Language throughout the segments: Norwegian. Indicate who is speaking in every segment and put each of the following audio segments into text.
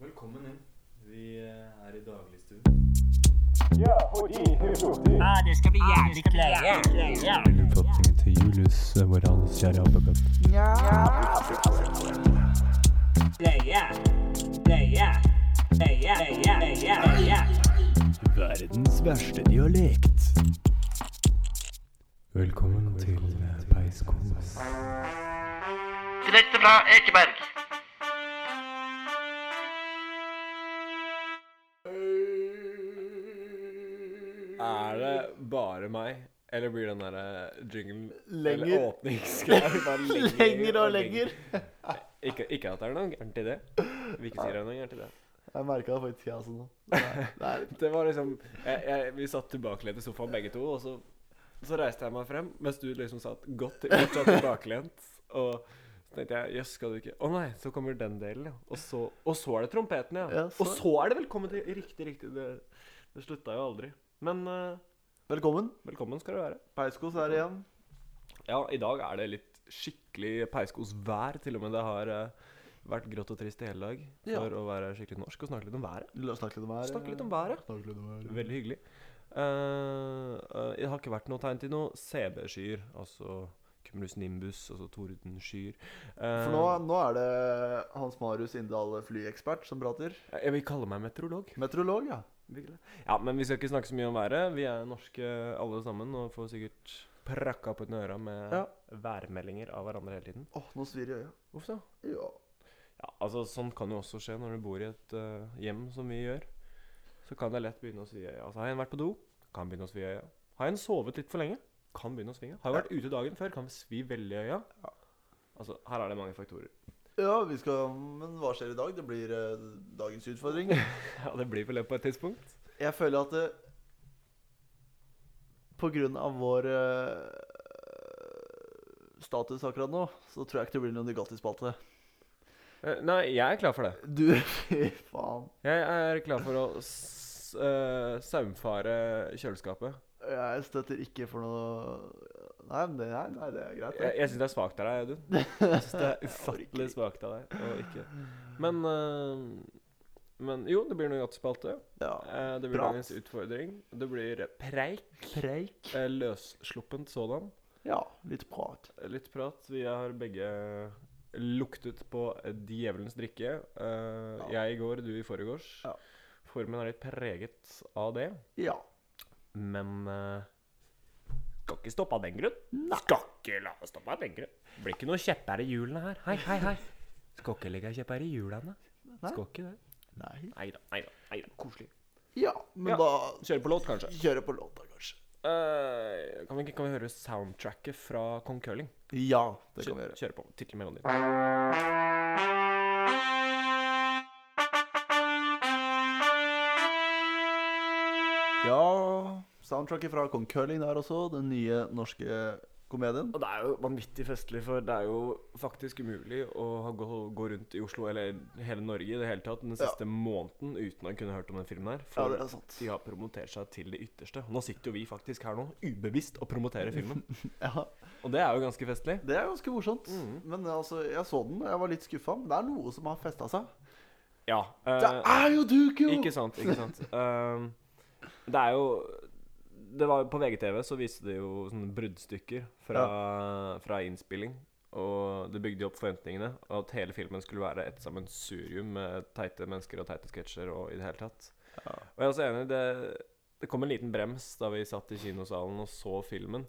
Speaker 1: Velkommen inn. Vi eh, er i dagligstuen.
Speaker 2: Ah, det skal bli jævlig kleie.
Speaker 3: Oppfatningen til Julius, eh, vår alles kjære apekatt.
Speaker 2: Kleie. Kleie. Kleie. Kleie. Kleie.
Speaker 3: Verdens verste dialekt. Velkommen til eh, Peiskos.
Speaker 4: Direkte fra Ekeberg.
Speaker 5: Er det bare meg, eller blir den der jinglen
Speaker 6: Lenger.
Speaker 5: Eller åpningsgreia bare
Speaker 6: Lenger og lenger.
Speaker 5: Ikke, ikke at det er noe gærent i det. Vi ikke sier det er noe gærent i det.
Speaker 6: Jeg merka det faktisk, altså. jeg også nå. Det er- det er litt-
Speaker 5: Det var liksom jeg, jeg, Vi satt tilbakelent i sofaen begge to, og så, så reiste jeg meg frem, mens du liksom satt godt fortsatt tilbakelent. Og så tenkte jeg jøss, skal du ikke Å nei, så kommer den delen, ja. Og så, og så er det trompeten, ja.
Speaker 6: Ja, så-
Speaker 5: Og så er det velkommen til Riktig, riktig. Det, det slutta jo aldri. Men eh,
Speaker 6: Velkommen.
Speaker 5: velkommen skal du være.
Speaker 6: Peiskos er igjen.
Speaker 5: Ja, i dag er det litt skikkelig peiskosvær. Til og med det har eh, vært grått og trist i hele dag. For å være skikkelig norsk og snakke litt om været.
Speaker 6: La oss snakke litt om været.
Speaker 5: Snakke litt om været.
Speaker 6: Snakke litt om været.
Speaker 5: Veldig hyggelig. Eh, eh, det har ikke vært noe tegn til noe CB-skyer, altså cumulus nimbus, altså tordenskyer. Eh,
Speaker 6: For nå, nå er det Hans Marius Inndal, flyekspert, som prater.
Speaker 5: Jeg vil kalle meg meteorolog.
Speaker 6: Meteorolog, ja.
Speaker 5: Ja, men vi skal ikke snakke så mye om været. Vi er norske alle sammen og får sikkert prakka på den øra med
Speaker 6: Ja.
Speaker 5: værmeldinger av hverandre hele tiden.
Speaker 6: Åh, nå svir det i øyet.
Speaker 5: Uff da.
Speaker 6: Ja.
Speaker 5: Ja, altså Sånn kan jo også skje når du bor i et eh, hjem som vi gjør. Så kan det lett begynne å svi i øya. Altså, har en vært på do, kan begynne å svi i øya. Har en sovet litt for lenge, kan begynne å svinge. Har jo vært ute dagen før, kan svi veldig i øya. Altså, Her er det mange faktorer.
Speaker 6: ja, vi skal Men hva skjer i dag? Det blir eh, dagens utfordring.
Speaker 5: Ja, Det blir vel det på et tidspunkt.
Speaker 6: Jeg føler at det, på grunn av vår eh, status akkurat nå, så tror jeg ikke det blir noen Nugatti-spalte.
Speaker 5: Eh, nei, jeg er klar for det.
Speaker 6: Du, fy faen.
Speaker 5: Jeg er klar for å s eh, saumfare kjøleskapet.
Speaker 6: Jeg støtter ikke for noe Nei, men det, nei, nei, det er greit.
Speaker 5: Jeg,
Speaker 6: det.
Speaker 5: jeg syns det er svakt av deg, Audun. Jeg synes det er ufattelig svakt av deg å ikke Men eh, Men jo, det blir noe gatespalte.
Speaker 6: Ja.
Speaker 5: Eh, Det blir
Speaker 6: Prat.
Speaker 5: dagens utfordring. Det blir preik.
Speaker 6: Preik.
Speaker 5: eh, Løssluppent sådan.
Speaker 6: Ja, litt prat.
Speaker 5: Litt prat. Vi har begge luktet på djevelens drikke. Eh, Jeg i går, du i forgårs.
Speaker 6: Ja.
Speaker 5: Formen er litt preget av det.
Speaker 6: Ja.
Speaker 5: Men eh, skal ikke stoppe av den grunn. Skal ikke la oss stoppe av den grunn. Blir ikke noe kjepper i hjulene her. Hei, hei, hei. Skal ikke legge kjepper i hjulene. Skal ikke det.
Speaker 6: Nei.
Speaker 5: Nei da, nei da. Nei da. Koselig.
Speaker 6: Ja, men
Speaker 5: Ja.
Speaker 6: da
Speaker 5: Kjøre på låt, kanskje.
Speaker 6: kjøre på låta, kanskje.
Speaker 5: Eh, kan, vi, ikke- kan vi høre soundtracket fra Kong Curling?
Speaker 6: Ja, det kan vi
Speaker 5: Kjør,
Speaker 6: gjøre.
Speaker 5: kjør på. Tittelmelodien.
Speaker 6: Ja, soundtracket fra Kong Curling der også. Den nye norske komedien.
Speaker 5: Og det er jo vanvittig festlig, for det er jo faktisk umulig å ha gå, gå rundt i Oslo, eller hele Norge i det hele tatt, den siste måneden uten å kunne hørt om den filmen her.
Speaker 6: Ja,
Speaker 5: For
Speaker 6: det er sant.
Speaker 5: de har promotert seg til det ytterste. Nå sitter jo vi faktisk her nå, ubevisst, og promoterer filmen.
Speaker 6: Ja,
Speaker 5: Og det er jo ganske festlig.
Speaker 6: Det er ganske morsomt.
Speaker 5: Mm.
Speaker 6: Men altså, jeg så den, og jeg var litt skuffa. Men det er noe som har festa seg.
Speaker 5: Ja.
Speaker 6: Det
Speaker 5: eh,
Speaker 6: er jo Duke, jo!
Speaker 5: Ikke sant, ikke sant. Ehm, det er jo det var, På VGTV så viste de jo sånne bruddstykker fra, fra innspilling. Og det bygde jo opp forventningene. Og at hele filmen skulle være et sammensurium med teite mennesker og teite sketsjer og i det hele tatt. Og jeg er også enig, det, det kom en liten brems da vi satt i kinosalen og så filmen.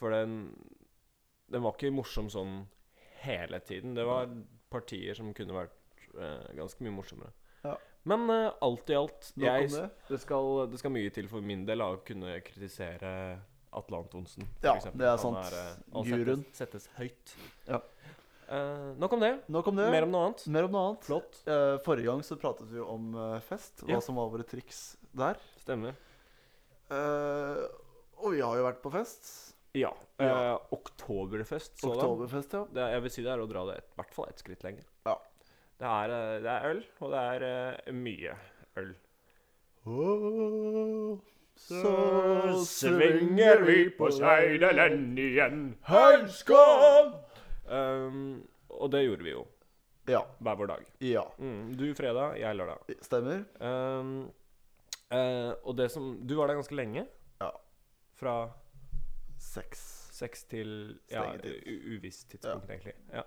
Speaker 5: For den, den var ikke morsom sånn hele tiden. Det var partier som kunne vært eh, ganske mye morsommere.
Speaker 6: Ja.
Speaker 5: Men eh, alt i alt
Speaker 6: Nok om
Speaker 5: jeg,
Speaker 6: det.
Speaker 5: det. skal, det skal mye til for min del av å kunne kritisere Atle Antonsen. for
Speaker 6: Ja,
Speaker 5: eksempel.
Speaker 6: det er
Speaker 5: Han
Speaker 6: sant.
Speaker 5: eh, han
Speaker 6: Guruen.
Speaker 5: Settes, settes høyt.
Speaker 6: Ja.
Speaker 5: Eh, nok om det.
Speaker 6: Nok om det.
Speaker 5: Mer om noe annet.
Speaker 6: Mer om noe annet.
Speaker 5: Flott.
Speaker 6: Eh, forrige gang så pratet vi jo om eh, fest, hva
Speaker 5: Ja.
Speaker 6: som var våre triks der.
Speaker 5: Stemmer.
Speaker 6: Eh, og vi har jo vært på fest.
Speaker 5: Ja.
Speaker 6: Ja.
Speaker 5: eh, Oktoberfest. sådan.
Speaker 6: Oktoberfest, ja.
Speaker 5: Det, er- jeg vil si det er å dra det et- i hvert fall ett skritt lenger.
Speaker 6: Ja.
Speaker 5: Det er, eh, det er øl, og det er eh, mye øl.
Speaker 6: Så
Speaker 5: seileren igjen. Hei, skål! Um, og Ehm, det gjorde vi jo.
Speaker 6: Ja.
Speaker 5: hver vår dag.
Speaker 6: ja.
Speaker 5: Mm, du fredag, jeg lørdag.
Speaker 6: Stemmer.
Speaker 5: Ehm, eh, og det som Du var der ganske lenge.
Speaker 6: Ja.
Speaker 5: Fra
Speaker 6: Seks.
Speaker 5: seks til ja,
Speaker 6: Stengetid.
Speaker 5: u- uvisst tidspunkt, egentlig. Ja.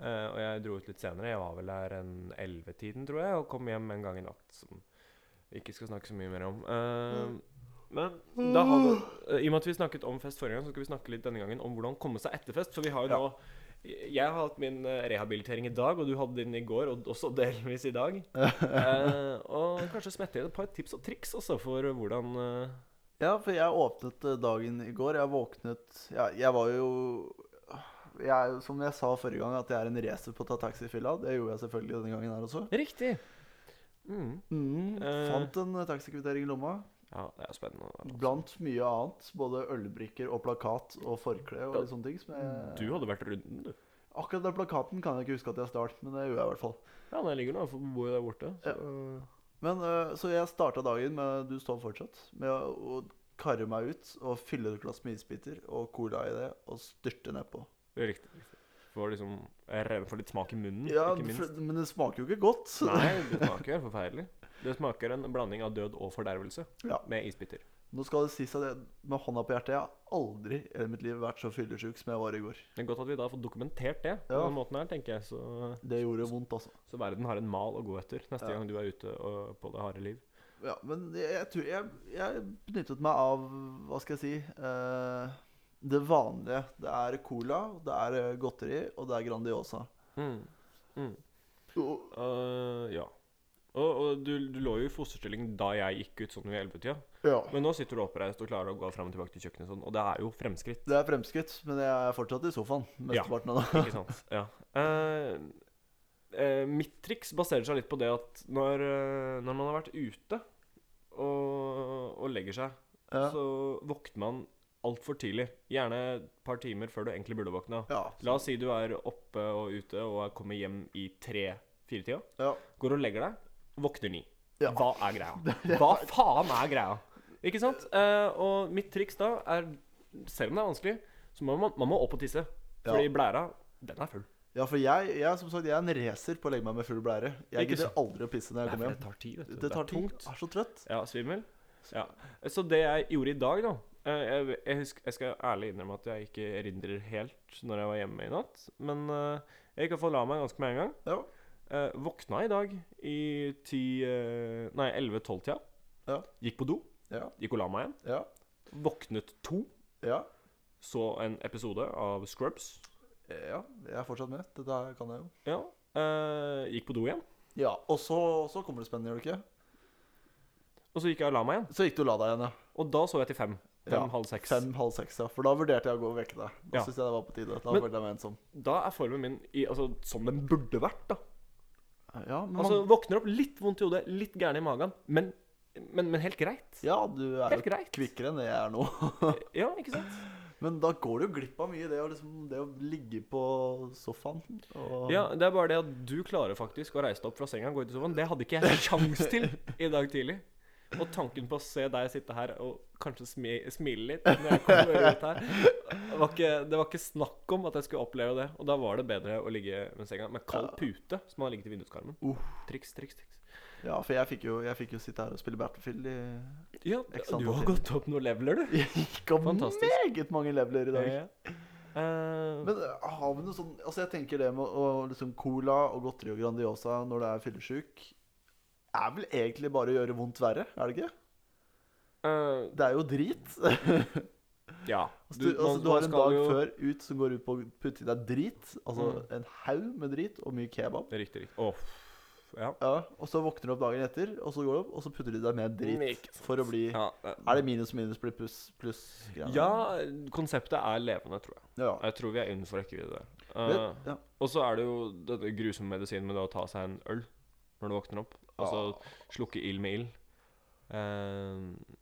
Speaker 5: Eh, og jeg dro ut litt senere. Jeg var vel der en ellevetiden, tror jeg, og kom hjem en gang i natt. Som vi ikke skal snakke så mye mer om. Ehm, Men da har vi, eh, i og med at vi snakket om fest forrige gang, så skal vi snakke litt denne gangen om hvordan komme seg etter fest. For vi har jo
Speaker 6: Ja.
Speaker 5: nå Jeg har hatt min eh, rehabilitering i dag, og du hadde din i går, og også delvis i dag. Eh, og kanskje smette inn et par tips og triks også for hvordan eh,
Speaker 6: Ja, for jeg åpnet eh, dagen i går. Jeg våknet ja, Jeg var jo jeg, er jo- Som jeg sa forrige gang, at jeg er en racer på å ta taxifylla. Det gjorde jeg selvfølgelig denne gangen her også.
Speaker 5: Riktig! Mm.
Speaker 6: Mm,
Speaker 5: Eh.
Speaker 6: Fant en eh, taxikvittering i lomma.
Speaker 5: Ja, det er jo spennende. da.
Speaker 6: Blant mye annet. Både ølbrikker og plakat og forkle og litt sånne ting. Som
Speaker 5: Du
Speaker 6: jeg,
Speaker 5: hadde vært runden, du.
Speaker 6: akkurat den plakaten kan jeg ikke huske at jeg stjal, men det gjorde jeg i hvert fall.
Speaker 5: Ja, den ligger nå, for vi bor jo der borte. Så.
Speaker 6: Men eh, Så jeg starta dagen med Du står fortsatt med å, å karre meg ut og fylle et glass med isbiter og cola i det og styrte nedpå.
Speaker 5: Det er riktig. riktig. Får liksom jeg rev- får litt smak i munnen,
Speaker 6: Ja,
Speaker 5: Mm, ikke minst.
Speaker 6: for, men det smaker jo ikke godt. så det-
Speaker 5: Nei, det smaker helt forferdelig. Det smaker en blanding av død og fordervelse
Speaker 6: Ja.
Speaker 5: med isbiter.
Speaker 6: Nå skal det sies at jeg, med hånda på hjertet, jeg har aldri i hele mitt liv vært så fyllesyk som jeg var i går.
Speaker 5: Det er godt at vi da har fått dokumentert det på
Speaker 6: Ja.
Speaker 5: den måten her, tenker jeg. Så,
Speaker 6: Det gjorde vondt, altså.
Speaker 5: så verden har en mal å gå etter neste
Speaker 6: Ja.
Speaker 5: gang du er ute og, på det harde liv.
Speaker 6: Ja, men jeg, jeg tror jeg, jeg benyttet meg av Hva skal jeg si eh, Det vanlige. Det er cola, det er eh, godteri, og det er Grandiosa.
Speaker 5: Mm.
Speaker 6: Og,
Speaker 5: Øh, ja. Og, og du, du lå jo i fosterstilling da jeg gikk ut sånn ved ellevetida.
Speaker 6: ja.
Speaker 5: Men nå sitter du oppreist og klarer å gå fram og tilbake til kjøkkenet og sånn, og det er jo fremskritt.
Speaker 6: Det er fremskritt, men jeg er fortsatt i sofaen mesteparten av det.
Speaker 5: Ikke sant. Ja. Eh, eh, mitt triks baserer seg litt på det at når, eh, når man har vært ute og, og legger seg,
Speaker 6: Ja.
Speaker 5: så våkner man altfor tidlig. Gjerne et par timer før du egentlig burde våkne.
Speaker 6: Ja.
Speaker 5: La oss si du er oppe og ute og er- kommer hjem i tre-fire-tida.
Speaker 6: ja.
Speaker 5: Går og legger deg, våkner ni.
Speaker 6: Ja.
Speaker 5: Hva er greia? Hva faen er greia? Ikke sant? Eh, og mitt triks da er, selv om det er vanskelig, så må man, man må opp og tisse. Fordi
Speaker 6: Ja.
Speaker 5: blæra, den er full.
Speaker 6: ja, for jeg, jeg, som sagt, jeg er en racer på å legge meg med full blære. Jeg
Speaker 5: Ikke
Speaker 6: gidder
Speaker 5: sant.
Speaker 6: aldri å pisse når jeg kommer
Speaker 5: Derfor det
Speaker 6: hjem.
Speaker 5: tar tid, vet du.
Speaker 6: Det tar
Speaker 5: er
Speaker 6: tid.
Speaker 5: tungt.
Speaker 6: Jeg er så trøtt.
Speaker 5: Ja, svimmel. Ja. Så det jeg gjorde i dag, da eh, Jeg, jeg, husk- jeg skal ærlig innrømme at jeg ikke erindrer helt når jeg var hjemme i natt. Men eh, jeg gikk og la meg ganske med en gang.
Speaker 6: Ja.
Speaker 5: Eh, våkna i dag i ti eh, Nei, 11-12-tida.
Speaker 6: Ja.
Speaker 5: Gikk på do.
Speaker 6: Ja.
Speaker 5: Gikk og la meg igjen.
Speaker 6: Ja.
Speaker 5: Våknet to.
Speaker 6: Ja.
Speaker 5: Så en episode av Scrubs.
Speaker 6: ja. Jeg er fortsatt med. Dette her kan jeg jo.
Speaker 5: Ja. Eh, gikk på do igjen.
Speaker 6: Ja, Og så, så kommer det spennende, gjør det ikke?
Speaker 5: Og så gikk jeg og la meg igjen.
Speaker 6: Så gikk du og la deg igjen, ja.
Speaker 5: Og da så jeg til fem. Fem,
Speaker 6: Ja,
Speaker 5: halv seks.
Speaker 6: Fem, halv seks, ja. For da vurderte jeg å gå og vekke deg. Da
Speaker 5: Ja.
Speaker 6: synes syntes jeg det var på tide. Da
Speaker 5: Men-
Speaker 6: følte jeg meg ensom.
Speaker 5: Da er formen min i, altså, som den burde vært, da.
Speaker 6: Ja, men
Speaker 5: Altså,
Speaker 6: man,
Speaker 5: våkner opp litt vondt i hodet, litt gæren i magen, men, men, men helt greit.
Speaker 6: ja du er
Speaker 5: Helt
Speaker 6: jo
Speaker 5: greit.
Speaker 6: kvikkere enn det jeg er nå.
Speaker 5: Ja, ikke sant?
Speaker 6: men da går du jo glipp av mye, det å, liksom, det å ligge på sofaen og
Speaker 5: Ja, Det er bare det at du klarer faktisk å reise deg opp fra senga og gå ut i sofaen. Det hadde ikke jeg sjans til i dag tidlig. Og tanken på å se deg sitte her og kanskje smi, smile litt når jeg kommer ut her det var, ikke, det var ikke snakk om at jeg skulle oppleve det. Og da var det bedre å ligge med senga med kald pute, som hadde ligget i vinduskarmen.
Speaker 6: Uh.
Speaker 5: Triks, triks, triks.
Speaker 6: Ja, for jeg fikk, jo, jeg fikk jo sitte her og spille Battlefield i
Speaker 5: Ja,
Speaker 6: Ikke sant,
Speaker 5: du har
Speaker 6: Martin?
Speaker 5: gått opp noen leveler, du.
Speaker 6: Jeg gikk opp
Speaker 5: Fantastisk.
Speaker 6: meget mange leveler i dag.
Speaker 5: Ja, ja. Eh,
Speaker 6: Men eh, har vi noe sånn Altså, jeg tenker det med å, liksom cola og godteri og Grandiosa når du er fyllesyk, er vel egentlig bare å gjøre vondt verre, er det ikke?
Speaker 5: eh,
Speaker 6: Det er jo drit.
Speaker 5: Ja.
Speaker 6: Altså, du, altså,
Speaker 5: man-
Speaker 6: du
Speaker 5: man
Speaker 6: har en
Speaker 5: skal
Speaker 6: dag
Speaker 5: jo- Mm.
Speaker 6: før ut som går ut på å putte i deg drit. Altså en haug med drit og mye kebab.
Speaker 5: Riktig, riktig. Åh, ja.
Speaker 6: Ja, Og så våkner du opp dagen etter, og så går du opp, og så putter du i deg mer drit.
Speaker 5: Ikke
Speaker 6: For å bli
Speaker 5: Ja, eh,
Speaker 6: Er det minus minus blir pluss pluss? greiene?
Speaker 5: ja, konseptet er levende, tror jeg.
Speaker 6: Ja.
Speaker 5: Jeg tror vi er innenfor rekkevidde der.
Speaker 6: Men,
Speaker 5: Eh,
Speaker 6: ja.
Speaker 5: og så er det jo denne grusomme medisinen med det å ta seg en øl når du våkner opp. Og så slukke ild med ild. Eh,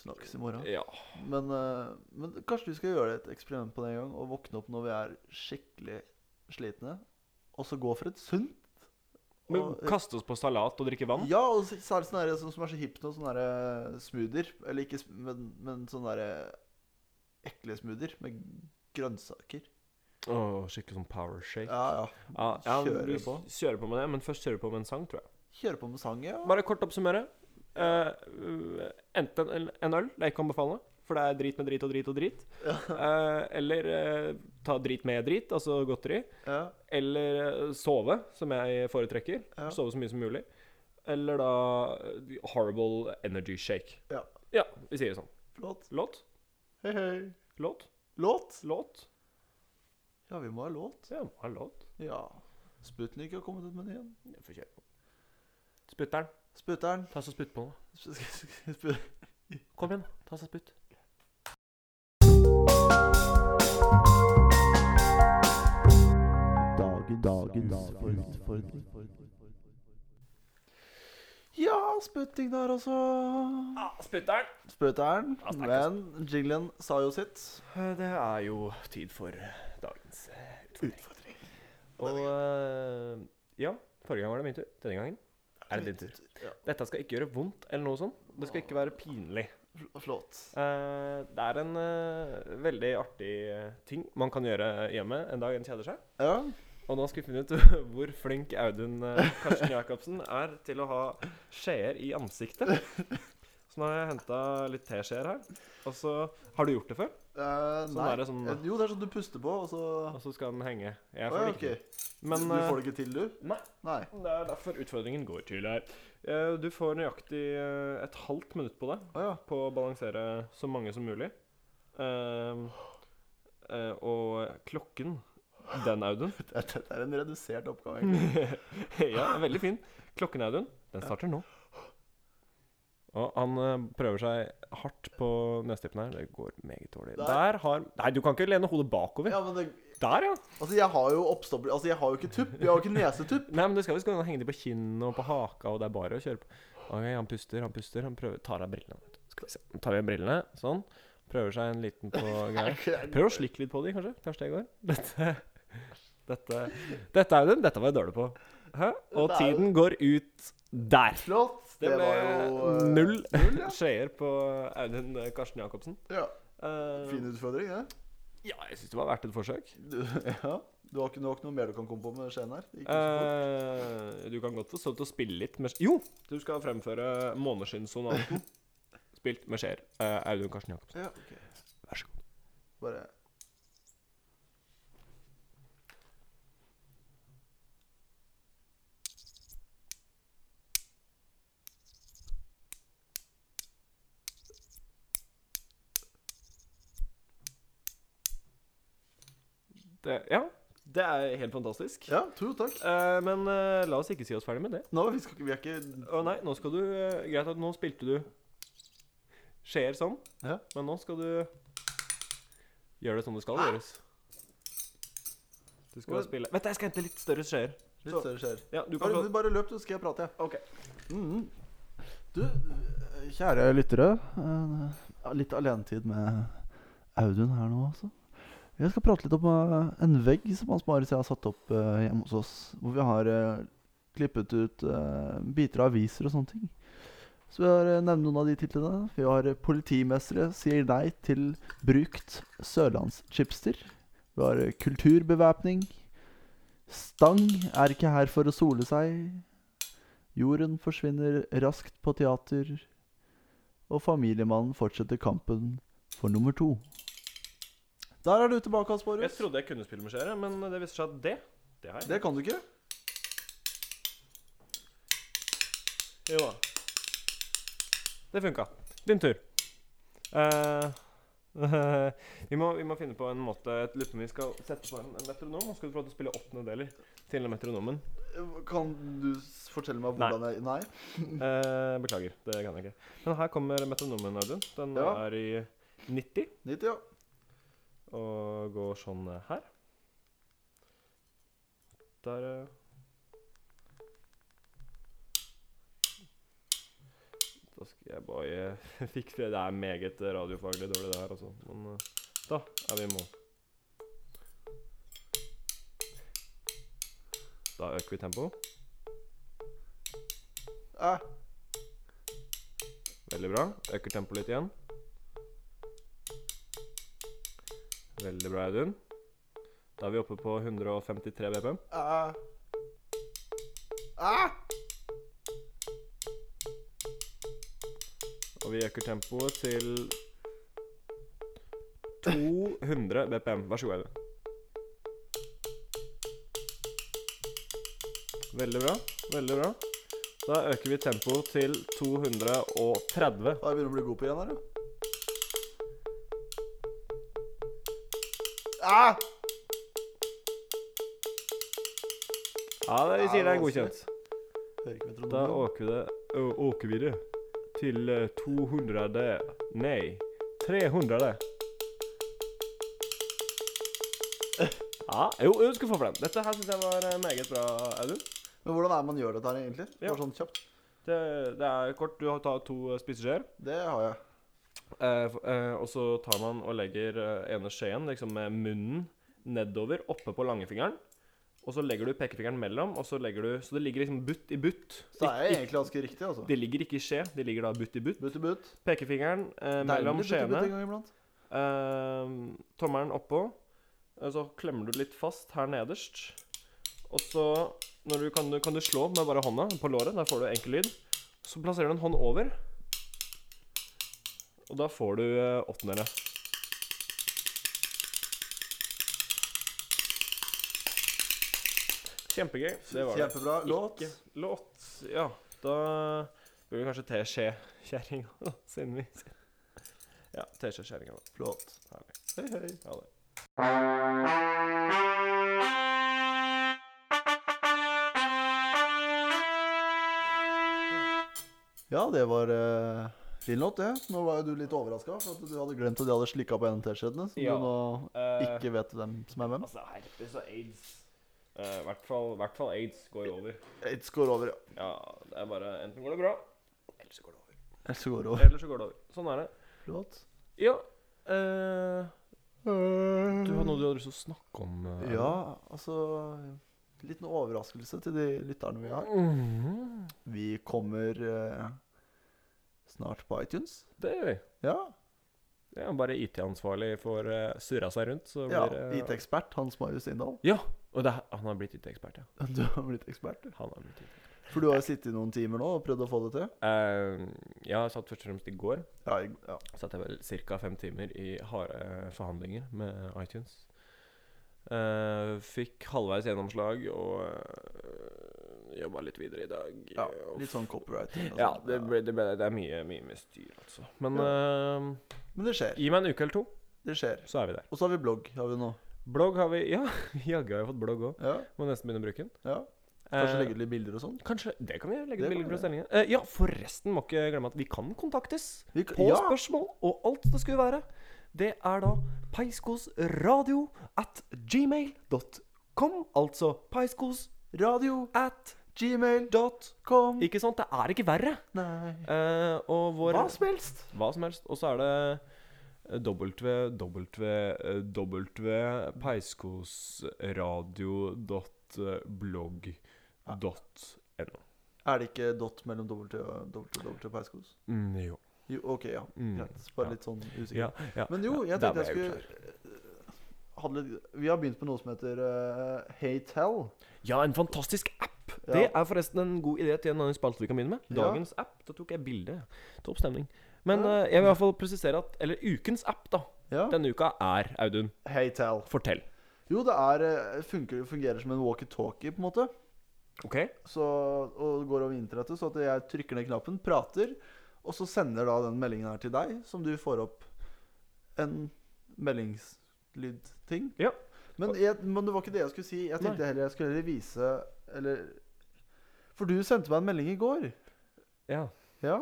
Speaker 6: Snakkes i morgen.
Speaker 5: ja.
Speaker 6: Men, eh, men kanskje vi skal gjøre et eksperiment på det en gang, og våkne opp når vi er skikkelig slitne, og så gå for et sunt?
Speaker 5: Men
Speaker 6: Og-
Speaker 5: kaste oss på salat og drikke vann?
Speaker 6: Ja, og s- særlig sånne der, sånn som er så hipt nå, sånne der, eh, smoothier. Eller ikke sm- sånn men, men sånne der, eh, ekle smoothier med grønnsaker.
Speaker 5: Åh, skikkelig sånn power shake.
Speaker 6: Ja, ja.
Speaker 5: Ja, ja,
Speaker 6: Kjører
Speaker 5: vi
Speaker 6: på.
Speaker 5: Kjører på med det, men først kjører vi på med en sang, tror jeg.
Speaker 6: Kjøre på med sang, ja.
Speaker 5: Bare kort oppsummere. Eh, uh, enten en, en øl, det er ikke å anbefale, for det er drit med drit og drit og drit. Eh, eller eh, ta drit med drit, altså godteri.
Speaker 6: ja.
Speaker 5: Eller eh, sove, som jeg foretrekker.
Speaker 6: Ja.
Speaker 5: Sove så mye som mulig. Eller da eh, Horrible Energy Shake.
Speaker 6: Ja.
Speaker 5: Ja, vi sier det sånn.
Speaker 6: Flott.
Speaker 5: Låt,
Speaker 6: Hei, hei.
Speaker 5: låt,
Speaker 6: Låt?
Speaker 5: låt.
Speaker 6: Ja, vi må ha låt.
Speaker 5: Ja, må ha låt.
Speaker 6: Ja. Sputnik har kommet ut med en igjen.
Speaker 5: Jeg får kjøre på. Spytteren.
Speaker 6: Sputter'n.
Speaker 5: Ta så spytt på nå.
Speaker 6: Sp-
Speaker 5: Kom igjen, ta så spytt.
Speaker 6: Ja, sputting der, altså.
Speaker 5: Ja,
Speaker 6: Ah,
Speaker 5: spytteren.
Speaker 6: Sputter'n.
Speaker 5: Ja, snakkes.
Speaker 6: Men jinglen sa jo sitt.
Speaker 5: Eh, Det er jo tid for dagens eh, utfordring. Og eh, ja, forrige gang var det min tur. Denne gangen er det din tur.
Speaker 6: Ja.
Speaker 5: Dette skal ikke gjøre vondt eller noe sånt. Det skal ikke være pinlig.
Speaker 6: Fl- Flott.
Speaker 5: Eh, Det er en eh, veldig artig eh, ting man kan gjøre hjemme en dag en kjeder seg.
Speaker 6: Ja. Eh,
Speaker 5: Og nå skal vi finne ut hvor flink Audun eh, Karsten Jacobsen er til å ha skjeer i ansiktet. Så nå har jeg henta litt teskjeer her. Og så Har du gjort det før?
Speaker 6: Eh,
Speaker 5: Sånn
Speaker 6: nei.
Speaker 5: er det sånn-
Speaker 6: Eh, Jo, det er sånn du puster på, og så
Speaker 5: Og så skal den henge. Jeg
Speaker 6: Å
Speaker 5: får
Speaker 6: ja,
Speaker 5: det
Speaker 6: OK.
Speaker 5: ikke. Men
Speaker 6: du, du får det ikke til, du?
Speaker 5: eh, Nei.
Speaker 6: Nei.
Speaker 5: Det er derfor utfordringen går til her. Eh, Du får nøyaktig eh, et halvt minutt på deg
Speaker 6: Å ja.
Speaker 5: på å balansere så mange som mulig. Eh, eh, Og klokken, den Audun
Speaker 6: Dette er en redusert oppgave, egentlig.
Speaker 5: Ja, veldig fin. Klokken Audun, den starter nå. Og han eh, prøver seg hardt på nesetippen her. Det går meget dårlig.
Speaker 6: Der.
Speaker 5: Der. har Nei, du kan ikke lene hodet bakover.
Speaker 6: Ja, men det,
Speaker 5: Der, ja.
Speaker 6: altså, jeg har jo oppstopper... Altså, jeg har jo ikke tupp. Jeg har jo ikke nesetupp.
Speaker 5: Nei, men du skal visst kunne henge de på kinnet og på haka, og det er bare å kjøre på. Ok, Han puster, han puster, han prøver tar av brillene. vet du. Skal vi se. Han Tar av brillene, sånn. Prøver seg en liten på greier. Prøv å slikke litt på de, kanskje. Kanskje det går. Dette Dette, dette Audun, dette var jeg dårlig på. Hæ? Og
Speaker 6: Det er jo-
Speaker 5: tiden går ut der.
Speaker 6: Flott.
Speaker 5: Det ble
Speaker 6: eh,
Speaker 5: null
Speaker 6: null, ja.
Speaker 5: skjeer på Audun eh, Karsten Jacobsen.
Speaker 6: Ja.
Speaker 5: Eh,
Speaker 6: Fin utfordring, det.
Speaker 5: ja, jeg syns det var verdt et forsøk.
Speaker 6: Du, ja. du, har ikke, du har ikke noe mer du kan komme på med skjeen her? Det gikk ikke så fort.
Speaker 5: Eh, du kan godt få stå til å spille litt med Jo! Du skal fremføre Måneskinnssonaten. Spilt med skjeer. Eh, Audun Karsten Jacobsen.
Speaker 6: ja, ok.
Speaker 5: Vær så god.
Speaker 6: Bare
Speaker 5: Det, ja, det er helt fantastisk.
Speaker 6: Ja, to, takk.
Speaker 5: Eh, men eh, la oss ikke si oss ferdig med det.
Speaker 6: Nå, vi, skal, ikke- vi er ikke
Speaker 5: Å nei, nå skal du eh, Greit at nå spilte du skjeer sånn,
Speaker 6: Ja.
Speaker 5: men nå skal du gjøre det sånn det skal gjøres. Du skal
Speaker 6: Hvor-
Speaker 5: spille Vent, da, jeg skal hente litt større skjeer.
Speaker 6: Litt større skjeer.
Speaker 5: Ja, du kan
Speaker 6: Bare,
Speaker 5: få
Speaker 6: bare løp, du, så skal jeg prate, jeg.
Speaker 5: OK.
Speaker 6: Mhm. Du, eh, kjære lyttere. eh, ja, Litt alenetid med Audun her nå, altså. Jeg skal prate litt om eh, en vegg som Hans Marius og jeg har satt opp eh, hjemme hos oss. Hvor vi har eh, klippet ut eh, biter av aviser og sånne ting. Så vi har eh, nevnt noen av de titlene. Vi har eh, 'Politimestere sier nei til brukt sørlandschipster'. Vi har eh, 'Kulturbevæpning'. 'Stang er ikke her for å sole seg'. Jorden forsvinner raskt på teater, og familiemannen fortsetter kampen for nummer to. Der er du tilbake, Hans
Speaker 5: Jeg
Speaker 6: Marius.
Speaker 5: trodde jeg kunne spille med skjeer, men det viser seg at det Det har jeg.
Speaker 6: Det kan du ikke.
Speaker 5: Jo da. Det funka. Din tur. Eh, vi, må, vi må finne på en måte Jeg lurer på om vi skal sette på en, en metronom. Og skal du prøve å spille åttendedeler til den metronomen?
Speaker 6: Kan du s- fortelle meg hvordan jeg Nei.
Speaker 5: Eh, beklager, det kan jeg ikke. Men her kommer metronomen, Audun. Den
Speaker 6: Ja.
Speaker 5: er i 90
Speaker 6: 90, ja.
Speaker 5: og går sånn eh, her. Der eh. Da skal jeg bare fikse det. Det er meget radiofaglig dårlig, det her, altså. Men eh, da er vi i mål. Da øker vi tempoet.
Speaker 6: Eh,
Speaker 5: Veldig bra. Øker tempoet litt igjen. Veldig bra, Audun. Da er vi oppe på 153 BPM. Ah. Og vi øker tempoet til 200 BPM. Vær så god, Eivind. Veldig bra. Veldig bra. Da øker vi tempoet til 230.
Speaker 7: Da begynner du å bli god på igjen her, jo.
Speaker 5: Ja, det, vi sier
Speaker 7: Ja,
Speaker 5: det er
Speaker 7: det er
Speaker 5: godkjent.
Speaker 7: Hører ikke med
Speaker 5: Da
Speaker 7: tronomen.
Speaker 5: åker, det, ø, åker vi det til eh, 200 Nei, 300. Ja, jo, jo, du skal få for den. Dette her syns jeg var eh, meget bra, Audun.
Speaker 7: Men hvordan er det man gjør dette her, egentlig?
Speaker 5: Ja.
Speaker 7: Bare sånn kjapt.
Speaker 5: Det, det er kort. Du har- tar to eh, spiseskjeer.
Speaker 7: Det har jeg.
Speaker 5: Eh, f- eh, og så tar man og legger eh, ene skjeen liksom med munnen nedover, oppe på langfingeren. Og så legger du pekefingeren mellom, og så legger du Så det ligger liksom butt i butt.
Speaker 7: Så det er
Speaker 5: Ikke-
Speaker 7: jeg egentlig ganske riktig, altså.
Speaker 5: Det ligger ikke i skje, det ligger da butt i butt.
Speaker 7: Butt i butt.
Speaker 5: Pekefingeren eh,
Speaker 7: Deilig
Speaker 5: mellom
Speaker 7: butt i butt
Speaker 5: skjeene.
Speaker 7: en gang iblant.
Speaker 5: Eh, tommelen oppå. Og så klemmer du litt fast her nederst. Og så når du kan, du- kan du slå med bare hånda på låret. Der får du enkel lyd. Så plasserer du en hånd over. Og da får du eh, åttendere. Kjempegøy. Det var det.
Speaker 7: Kjempebra låt.
Speaker 5: Ikke låt. Ja, da blir det kanskje teskjekjerringa, da, siden vi Ja, teskjekjerringa, da.
Speaker 7: Flott.
Speaker 5: Herlig.
Speaker 7: Hei, hei.
Speaker 5: Ha det.
Speaker 7: Ja, det var eh, fin låt, det. Nå var jo du litt overraska, for at du hadde glemt at de hadde slikka på en av T-skjortene. Som
Speaker 5: Ja.
Speaker 7: du nå
Speaker 5: Eh,
Speaker 7: ikke vet hvem som er hvem.
Speaker 5: Altså, herpes og aids eh, I hvert, fall, hvert fall aids går jo over.
Speaker 7: Aids går over, ja.
Speaker 5: Ja, det er bare Enten går det bra, eller så går det over.
Speaker 7: Aids går over.
Speaker 5: Eller så går det over. Sånn er det.
Speaker 7: Flott.
Speaker 5: Ja. eh, du har noe du hadde lyst til å snakke om? eh,
Speaker 7: Ja, altså
Speaker 6: eh,
Speaker 7: en Liten overraskelse til de lytterne vi har. Vi kommer eh, snart på iTunes.
Speaker 5: Det gjør vi.
Speaker 7: Ja.
Speaker 5: Jeg er bare IT-ansvarlig for uh, surra seg rundt, så
Speaker 7: ja
Speaker 5: blir eh,
Speaker 7: IT-ekspert Hans Marius Inndal.
Speaker 5: Ja, og det, han har blitt IT-ekspert, ja.
Speaker 7: Du har blitt ekspert, du.
Speaker 5: Han har blitt IT.
Speaker 7: For du har jo sittet i noen timer nå og prøvd å få det til.
Speaker 5: Uh, jeg satt først og fremst i går
Speaker 7: Ja, jeg- ja.
Speaker 5: satt jeg vel ca. fem timer i harde forhandlinger med iTunes. Eh, fikk halvveis gjennomslag og uh, jobba litt videre i dag.
Speaker 7: ja
Speaker 5: og-
Speaker 7: litt sånn copyright.
Speaker 5: ja, det, ble, det, ble, det er mye, mye, mye styr, altså. Men eh,
Speaker 7: Men det skjer.
Speaker 5: gi meg en uke eller to,
Speaker 7: Det skjer.
Speaker 5: så er vi der.
Speaker 7: Og så har vi blogg. har vi nå.
Speaker 5: Blogg har vi Ja, jaggu har jeg fått blogg òg.
Speaker 7: Ja,
Speaker 5: Må nesten begynne å bruke den.
Speaker 7: ja. Kanskje
Speaker 5: Eh,
Speaker 7: legge ut litt bilder og sånn.
Speaker 5: Kanskje, Det kan vi gjøre. Legge
Speaker 7: Det
Speaker 5: ut
Speaker 7: kan
Speaker 5: bilder
Speaker 7: vi
Speaker 5: fra sendingen. Eh, ja, forresten må ikke glemme at vi kan kontaktes
Speaker 7: Vi kan-
Speaker 5: på
Speaker 7: ja.
Speaker 5: spørsmål og alt det skulle være. Det er da peiskosradio at gmail.com. Altså peiskosradio
Speaker 7: Radio
Speaker 5: at
Speaker 7: gmail
Speaker 5: dot
Speaker 7: kom.
Speaker 5: Ikke sant? Det er ikke verre.
Speaker 7: Nei.
Speaker 5: Eh, og vår
Speaker 7: Hva som helst.
Speaker 5: Hva som helst. Og så er det www.peiskosradio.blogg.no.
Speaker 7: Er det ikke dot mellom dobbelt og dobbelt og dobbelt og peiskos?
Speaker 5: Mm, jo.
Speaker 7: Jo, OK, ja.
Speaker 5: Mm,
Speaker 7: Greit. Bare
Speaker 5: ja.
Speaker 7: litt sånn usikker.
Speaker 5: Ja, ja.
Speaker 7: Men jo,
Speaker 5: ja,
Speaker 7: jeg
Speaker 5: der
Speaker 7: tenkte jeg
Speaker 5: ble
Speaker 7: skulle eh, hadde litt, Vi har begynt med noe som heter eh, Hate Hell.
Speaker 5: uklar. Ja, en fantastisk app!
Speaker 7: Ja.
Speaker 5: Det er forresten en god idé til en annen spalte vi kan begynne med.
Speaker 7: Ja.
Speaker 5: Dagens app. Da tok jeg bilde. Topp stemning. Men eh, jeg vil i hvert fall presisere at Eller ukens app, da.
Speaker 7: Ja.
Speaker 5: Denne uka er Audun.
Speaker 7: Hate Hell.
Speaker 5: Fortell.
Speaker 7: Jo, det er, eh, funker, fungerer som en walkietalkie, på en måte.
Speaker 5: OK?
Speaker 7: så, og går over internettet, så at jeg trykker ned knappen, prater, og så sender da den meldingen her til deg, som du får opp en meldingslydting.
Speaker 5: Ja.
Speaker 7: Men, jeg, men det var ikke det jeg skulle si. Jeg tenkte heller jeg skulle heller vise Eller For du sendte meg en melding i går.
Speaker 5: Ja.
Speaker 7: Ja.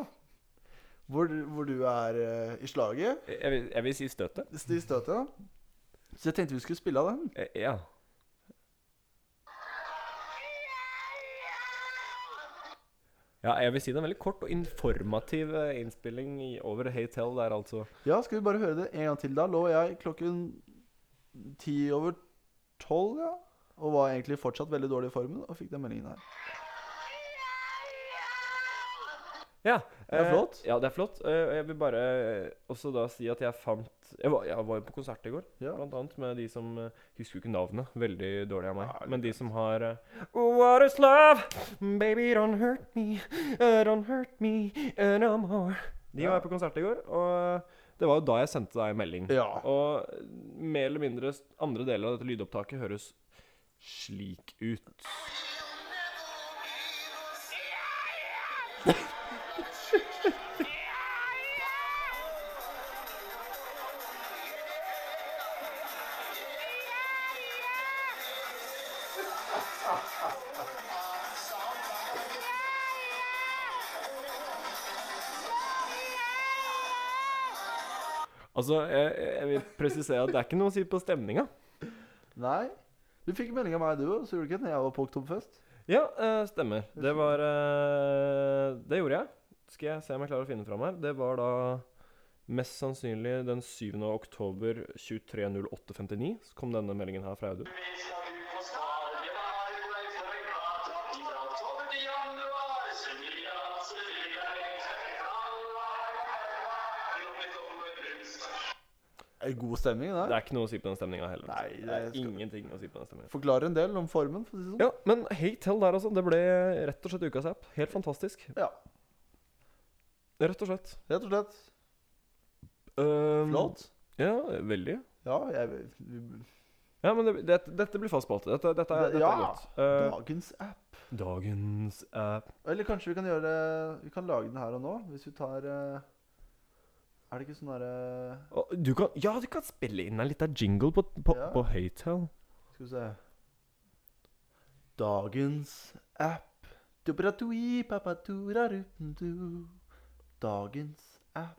Speaker 7: Hvor, hvor du er eh, i slaget.
Speaker 5: Jeg vil, jeg vil si støtet.
Speaker 7: I støtet. ja. Så jeg tenkte vi skulle spille av den.
Speaker 5: Eh, Ja. Ja, jeg vil si det er en veldig kort og informativ eh, innspilling i- over Haytel der, altså.
Speaker 7: Ja, skal vi bare høre det en gang til da? Lå jeg klokken ti over tolv, ja. Og var egentlig fortsatt veldig dårlig i formen, og fikk den meldingen her.
Speaker 5: Ja,
Speaker 7: Det er
Speaker 5: eh,
Speaker 7: flott.
Speaker 5: Ja, det er flott. Eh, og jeg vil bare eh, også da eh, si at jeg fant Jeg var, jeg var jo på konsert i går,
Speaker 6: Ja.
Speaker 5: blant annet med de som eh, Husker jo ikke navnet. Veldig dårlig av meg.
Speaker 6: Ja, litt
Speaker 5: Men de som har eh, oh, What is love? Baby, don't hurt me. Uh, don't hurt me uh, no more. De var jeg på konsert i går, og eh, det var jo da jeg sendte deg en melding.
Speaker 6: Ja.
Speaker 5: Og eh, mer eller mindre s- andre deler av dette lydopptaket høres slik ut. Altså, jeg, jeg vil presisere at det er ikke noe å si på stemninga.
Speaker 6: Nei. Du fikk melding av meg, du òg, så gjorde du ikke det? Jeg var på Oktoberfest.
Speaker 5: Ja, eh, stemmer. Det var eh, Det gjorde jeg. Skal jeg se om jeg klarer å finne fram her. Det var da mest sannsynlig den 7. oktober 23.08.59 så kom denne meldingen her fra Audun.
Speaker 6: Eh, God stemning,
Speaker 5: Det
Speaker 6: det.
Speaker 5: er ikke noe å si på den stemninga heller.
Speaker 6: Nei, det
Speaker 5: det er
Speaker 6: skal-
Speaker 5: ingenting å si på den stemninga.
Speaker 6: Forklarer en del om formen, for å si det sånn.
Speaker 5: Ja, men Hate Hell der, altså. Det ble rett og slett ukas app. Helt fantastisk.
Speaker 6: Ja.
Speaker 5: Rett og slett.
Speaker 6: Rett og slett.
Speaker 5: Um,
Speaker 6: Flott.
Speaker 5: Ja, veldig.
Speaker 6: Ja, jeg vi-
Speaker 5: Ja, men det, det, dette blir fast spalte. Dette, dette, er- dette er
Speaker 6: Ja.
Speaker 5: godt. Eh,
Speaker 6: Dagens app.
Speaker 5: dagens app
Speaker 6: Eller kanskje vi kan gjøre Vi kan lage den her og nå, hvis vi tar eh, Er det ikke sånn
Speaker 7: Eh,
Speaker 6: derre
Speaker 5: Å, du kan, Ja, du kan spille inn en liten jingle på, på,
Speaker 6: Ja.
Speaker 5: på Hate Hell.
Speaker 6: Skal vi se Dagens app Dubratui, papaturarupndu. Dagens app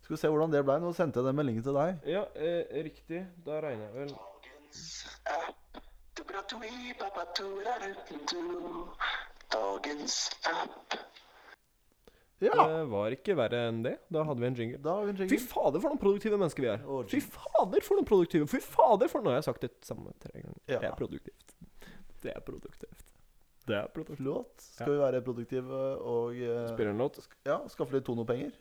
Speaker 6: Skal vi se hvordan det ble. Nå sendte jeg den meldingen til deg.
Speaker 5: Ja, eh, riktig. Da regner jeg vel
Speaker 8: Dagens app.
Speaker 6: Ja!
Speaker 5: Det var ikke verre enn det. Da hadde vi en jingle.
Speaker 6: Da har vi en
Speaker 5: Fy
Speaker 6: jingle.
Speaker 5: fader, for noen produktive mennesker vi er.
Speaker 6: Å,
Speaker 5: Fy fader, for noen produktive Fy fader, for Nå har jeg sagt det samme tre ganger.
Speaker 6: Ja.
Speaker 5: Det er produktivt. Det er produktivt. Det er produktivt.
Speaker 6: Låt. Skal vi være produktive og eh,
Speaker 5: Spiller en låt.
Speaker 6: ja, skaffe litt tonopenger?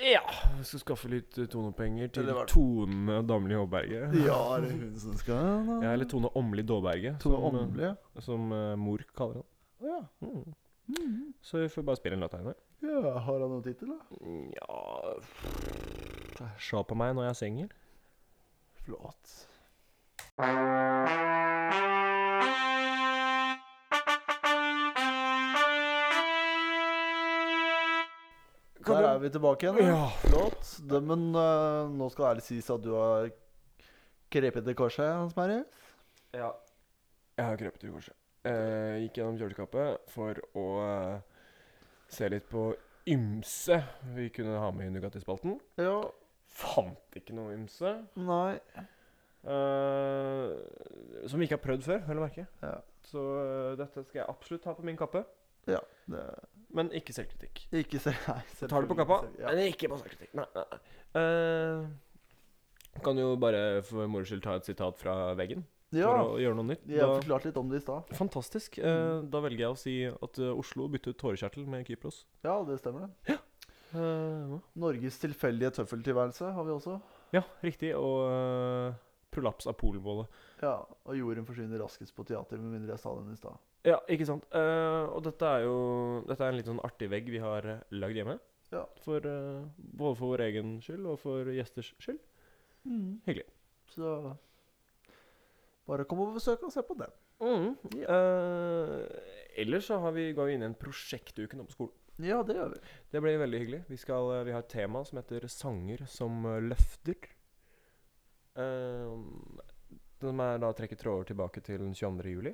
Speaker 5: Ja. Vi skal skaffe litt eh, tonepenger til
Speaker 6: Eller hva-
Speaker 5: Tone Damli Håberge.
Speaker 6: Ja, er det hun som skal da?
Speaker 5: Ja, eller Tone Åmli Dåberge,
Speaker 6: Tone
Speaker 5: som, eh,
Speaker 6: Åmli, ja.
Speaker 5: som eh, mor kaller han.
Speaker 6: Ja.
Speaker 5: Mm. Så vi får bare spille en låt av henne.
Speaker 6: ja. Har han noen tittel, da?
Speaker 5: Ja Se på meg når jeg synger.
Speaker 6: Flott. Der er vi tilbake igjen. Ja. Flott. Det, men eh, nå skal ærlig sies at du har krepet til korset, Hans Mari.
Speaker 5: Ja. Jeg har krøpet i korset. Eh, gikk gjennom kjøleskapet for å eh, se litt på ymse vi kunne ha med i Nugatti-spalten.
Speaker 6: Ja.
Speaker 5: Fant ikke noe ymse.
Speaker 6: Nei.
Speaker 5: eh, som vi ikke har prøvd før, vel å merke.
Speaker 6: Ja.
Speaker 5: Så eh, dette skal jeg absolutt ta på min kappe.
Speaker 6: Ja. Det,
Speaker 5: Men ikke selvkritikk.
Speaker 6: ikke se Nei.
Speaker 5: Tar det på kappa,
Speaker 6: selvfølgelig. Ja.
Speaker 5: men ikke på selvkritikk. Nei, nei, nei. Eh, kan jo bare for moro skyld ta et sitat fra veggen
Speaker 6: ja.
Speaker 5: for å gjøre noe nytt.
Speaker 6: Jeg har
Speaker 5: Da-
Speaker 6: forklart litt om det i stad.
Speaker 5: Fantastisk. Eh, da velger jeg å si at eh, Oslo bytter ut tårekjertel med Kypros.
Speaker 6: Ja, det stemmer, det.
Speaker 5: Eh, hva?
Speaker 6: Norges tilfeldige tøffeltilværelse har vi også.
Speaker 5: ja, riktig. Og eh, prolaps av polbolle.
Speaker 6: Ja, Og jorden forsvinner raskest på teater, med mindre jeg sa den i stad.
Speaker 5: Ja, ikke sant. Eh, og dette er jo Dette er en litt sånn artig vegg vi har eh, lagd hjemme.
Speaker 6: Ja.
Speaker 5: For, eh, både for vår egen skyld og for gjesters skyld. Hyggelig.
Speaker 6: Så bare kom og besøk og se på den.
Speaker 5: Mm, Eh, ellers så har vi, går vi inn i en prosjektuke nå på skolen.
Speaker 6: Ja, det gjør vi.
Speaker 5: Det blir veldig hyggelig. Vi, skal, eh, vi har et tema som heter 'Sanger som eh, løfter'. Eh, som er da trekker tråder tilbake til den 22. juli.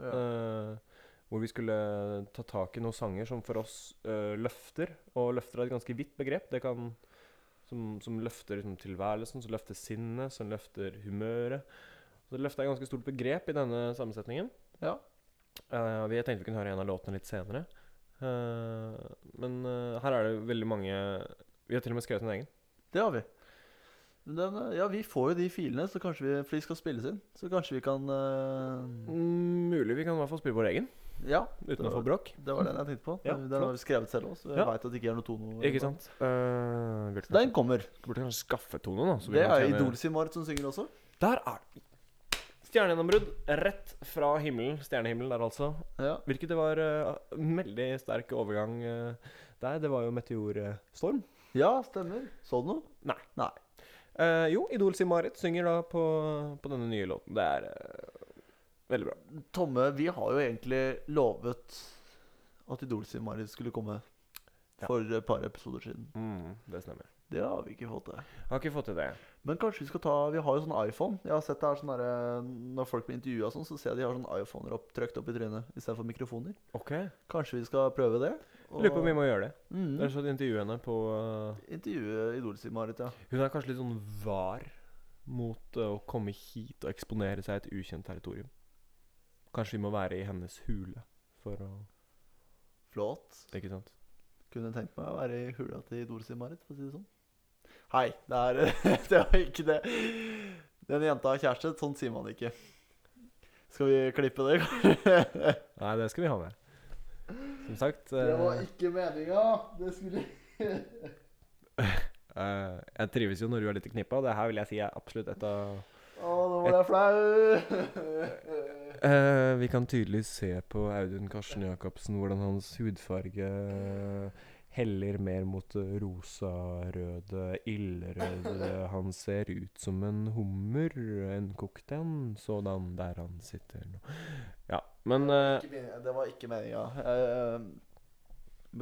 Speaker 6: Ja.
Speaker 5: eh, hvor vi skulle eh, ta tak i noen sanger som for oss eh, løfter. Og løfter er et ganske vidt begrep. Det kan Som, som løfter liksom, tilværelsen, som løfter sinnet, som løfter humøret. Så løfter er et ganske stort begrep i denne sammensetningen.
Speaker 6: Ja.
Speaker 5: Eh, vi- jeg tenkte vi kunne høre en av låtene litt senere. Eh, men eh, her er det veldig mange Vi har til og med skrevet en egen.
Speaker 6: Det har vi. Men den, eh, ja, vi får jo de filene, så kanskje vi, for de skal spilles inn. Så kanskje vi kan eh,
Speaker 5: Mm, mulig vi kan i hvert fall spille vår egen.
Speaker 6: Ja,
Speaker 5: uten
Speaker 6: det
Speaker 5: å få
Speaker 6: var,
Speaker 5: bråk.
Speaker 6: det var den jeg tenkte på.
Speaker 5: Ja,
Speaker 6: den
Speaker 5: flott.
Speaker 6: har vi skrevet selv også. så Jeg
Speaker 5: Ja.
Speaker 6: vet veit at det ikke er noe tono.
Speaker 5: Ikke sant? Eh, burde,
Speaker 6: Så Den kommer.
Speaker 5: burde kanskje skaffe Tone, da. så vi
Speaker 6: Det
Speaker 5: kan
Speaker 6: er
Speaker 5: tjene-
Speaker 6: Idol sin Marit som synger også.
Speaker 5: Der er det. Stjernegjennombrudd rett fra himmelen. Stjernehimmelen der, altså.
Speaker 6: Ja.
Speaker 5: Hvilket det var eh, en veldig sterk overgang eh, der. Det var jo meteorstorm.
Speaker 6: ja, stemmer. Så du noe?
Speaker 5: Nei.
Speaker 6: Nei.
Speaker 5: Eh, jo, Idol sin Marit synger da på, på denne nye låten. Det er eh, veldig bra.
Speaker 6: Tomme, vi har jo egentlig lovet at Idol sin Marit skulle komme
Speaker 5: Ja.
Speaker 6: for et par episoder siden.
Speaker 5: Mm, det stemmer.
Speaker 6: Det har vi ikke fått til.
Speaker 5: Jeg har ikke fått til det.
Speaker 6: Men kanskje vi skal ta Vi har jo sånn iPhone. Jeg har sett det her sånn derre- Når folk blir intervjua sånn, så ser jeg de har sånne iPhoner opp, trøkt opp i trynet istedenfor mikrofoner.
Speaker 5: Ok.
Speaker 6: Kanskje vi skal prøve det? og-
Speaker 5: Lurer på om vi må gjøre det.
Speaker 6: Mm,
Speaker 5: Ellers så intervjuer henne på eh,
Speaker 6: intervjue Idol sin Marit, ja.
Speaker 5: Hun er kanskje litt sånn var mot eh, å komme hit og eksponere seg i et ukjent territorium. Kanskje vi må være i hennes hule for å
Speaker 6: Flott.
Speaker 5: Ikke sant?
Speaker 6: Kunne tenkt meg å være i hula til Idol sin Marit, for å si det sånn. Hei, det er Det var ikke det. Den jenta har kjæreste. Sånn sier man ikke. Skal vi klippe det, kanskje?
Speaker 5: Nei, det skal vi ha med. Som sagt eh,
Speaker 6: Det var ikke meninga. Det skulle
Speaker 5: eh, Jeg trives jo når du er litt i knipa, og det her vil jeg si er absolutt et av
Speaker 6: Å, nå var jeg flau.
Speaker 5: Eh, vi kan tydelig se på Audun Karsten Jacobsen hvordan hans hudfarge eh, heller mer mot det rosa-røde, ildrøde. Han ser ut som en hummer, en kokt en, sådan der han sitter nå. Ja, men eh,
Speaker 6: Ikke meningen- Det var ikke meninga. Jeg eh,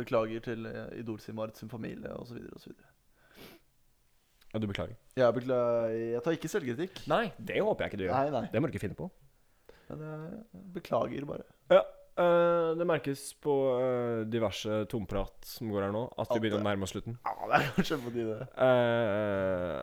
Speaker 6: beklager til eh, Idol sin Marit sin familie osv. osv.
Speaker 5: ja, Du beklager?
Speaker 6: Jeg, bekla- jeg tar ikke selvkritikk.
Speaker 5: Nei, det håper jeg ikke du gjør.
Speaker 6: Nei, nei.
Speaker 5: Det må du ikke finne på.
Speaker 6: Men jeg beklager bare.
Speaker 5: Ja, eh, det merkes på eh, diverse tomprat som går her nå, at
Speaker 6: At
Speaker 5: vi begynner
Speaker 6: det-
Speaker 5: å nærme oss slutten.
Speaker 6: Ja, det er kanskje på tide.
Speaker 5: Eh,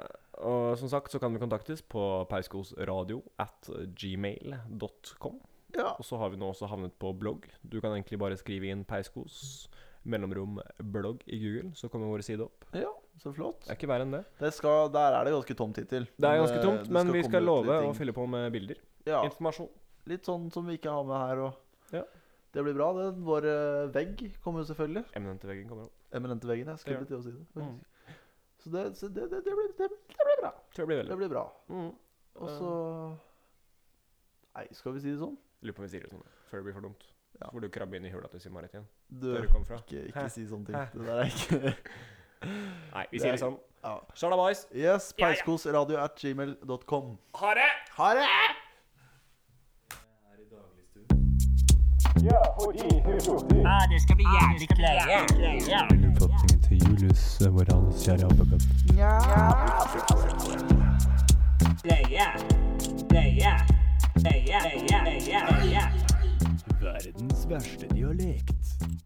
Speaker 5: og som sagt så kan vi kontaktes på peiskosradio at gmail.com.
Speaker 6: Ja.
Speaker 5: Og så har vi nå også havnet på blogg. Du kan egentlig bare skrive inn peiskos mellomrom blogg i Google, så kommer vår side opp.
Speaker 6: ja, så flott.
Speaker 5: Det er ikke verre enn det.
Speaker 6: Det skal, der er det ganske tomt hittil.
Speaker 5: Det er
Speaker 6: Men,
Speaker 5: ganske
Speaker 6: eh,
Speaker 5: tomt,
Speaker 6: det
Speaker 5: men vi
Speaker 6: komme
Speaker 5: skal
Speaker 6: ut litt
Speaker 5: love
Speaker 6: ting.
Speaker 5: å fylle på med bilder.
Speaker 6: Ja,
Speaker 5: Informasjon.
Speaker 6: Litt sånn som vi ikke har med her. Og
Speaker 5: Ja.
Speaker 6: Det blir bra. det Vår eh, vegg kommer jo selvfølgelig.
Speaker 5: Eminente veggen kommer opp.
Speaker 6: Eminente veggen. Jeg skulle
Speaker 5: Det
Speaker 6: til å si det.
Speaker 5: Mm.
Speaker 6: faktisk. Så, det, så det, det, det, blir, det, blir- det blir bra.
Speaker 5: Tror det blir
Speaker 6: Det
Speaker 5: veldig bra.
Speaker 6: blir bra.
Speaker 5: Mm.
Speaker 6: Og så Nei, skal vi si det sånn?
Speaker 5: Lurer på om vi sier det sånn før det blir for dumt.
Speaker 6: Ja.
Speaker 5: Så får du krabbe inn i hula til Simarit igjen.
Speaker 6: Du,
Speaker 5: Der du kom fra.
Speaker 6: ikke, ikke
Speaker 5: Hæ?
Speaker 6: si sånne
Speaker 5: Hæ?
Speaker 6: ting. Det der er ikke
Speaker 5: Nei, vi
Speaker 6: Det er-
Speaker 5: sier det sånn.
Speaker 6: ja.
Speaker 5: Sjalabais.
Speaker 6: Yes, peiskosradio at gmail.com.
Speaker 5: Ha det!
Speaker 6: Ha det!
Speaker 1: Er i dagligstuen.
Speaker 2: Ah, this could be yeah, this could be yeah, yeah.
Speaker 3: Innfatningen til Julius, eh, vår alles kjære ABB.
Speaker 2: Play yeah, play yeah, play yeah, play yeah, play yeah, play yeah.
Speaker 3: Verdens verste dialekt.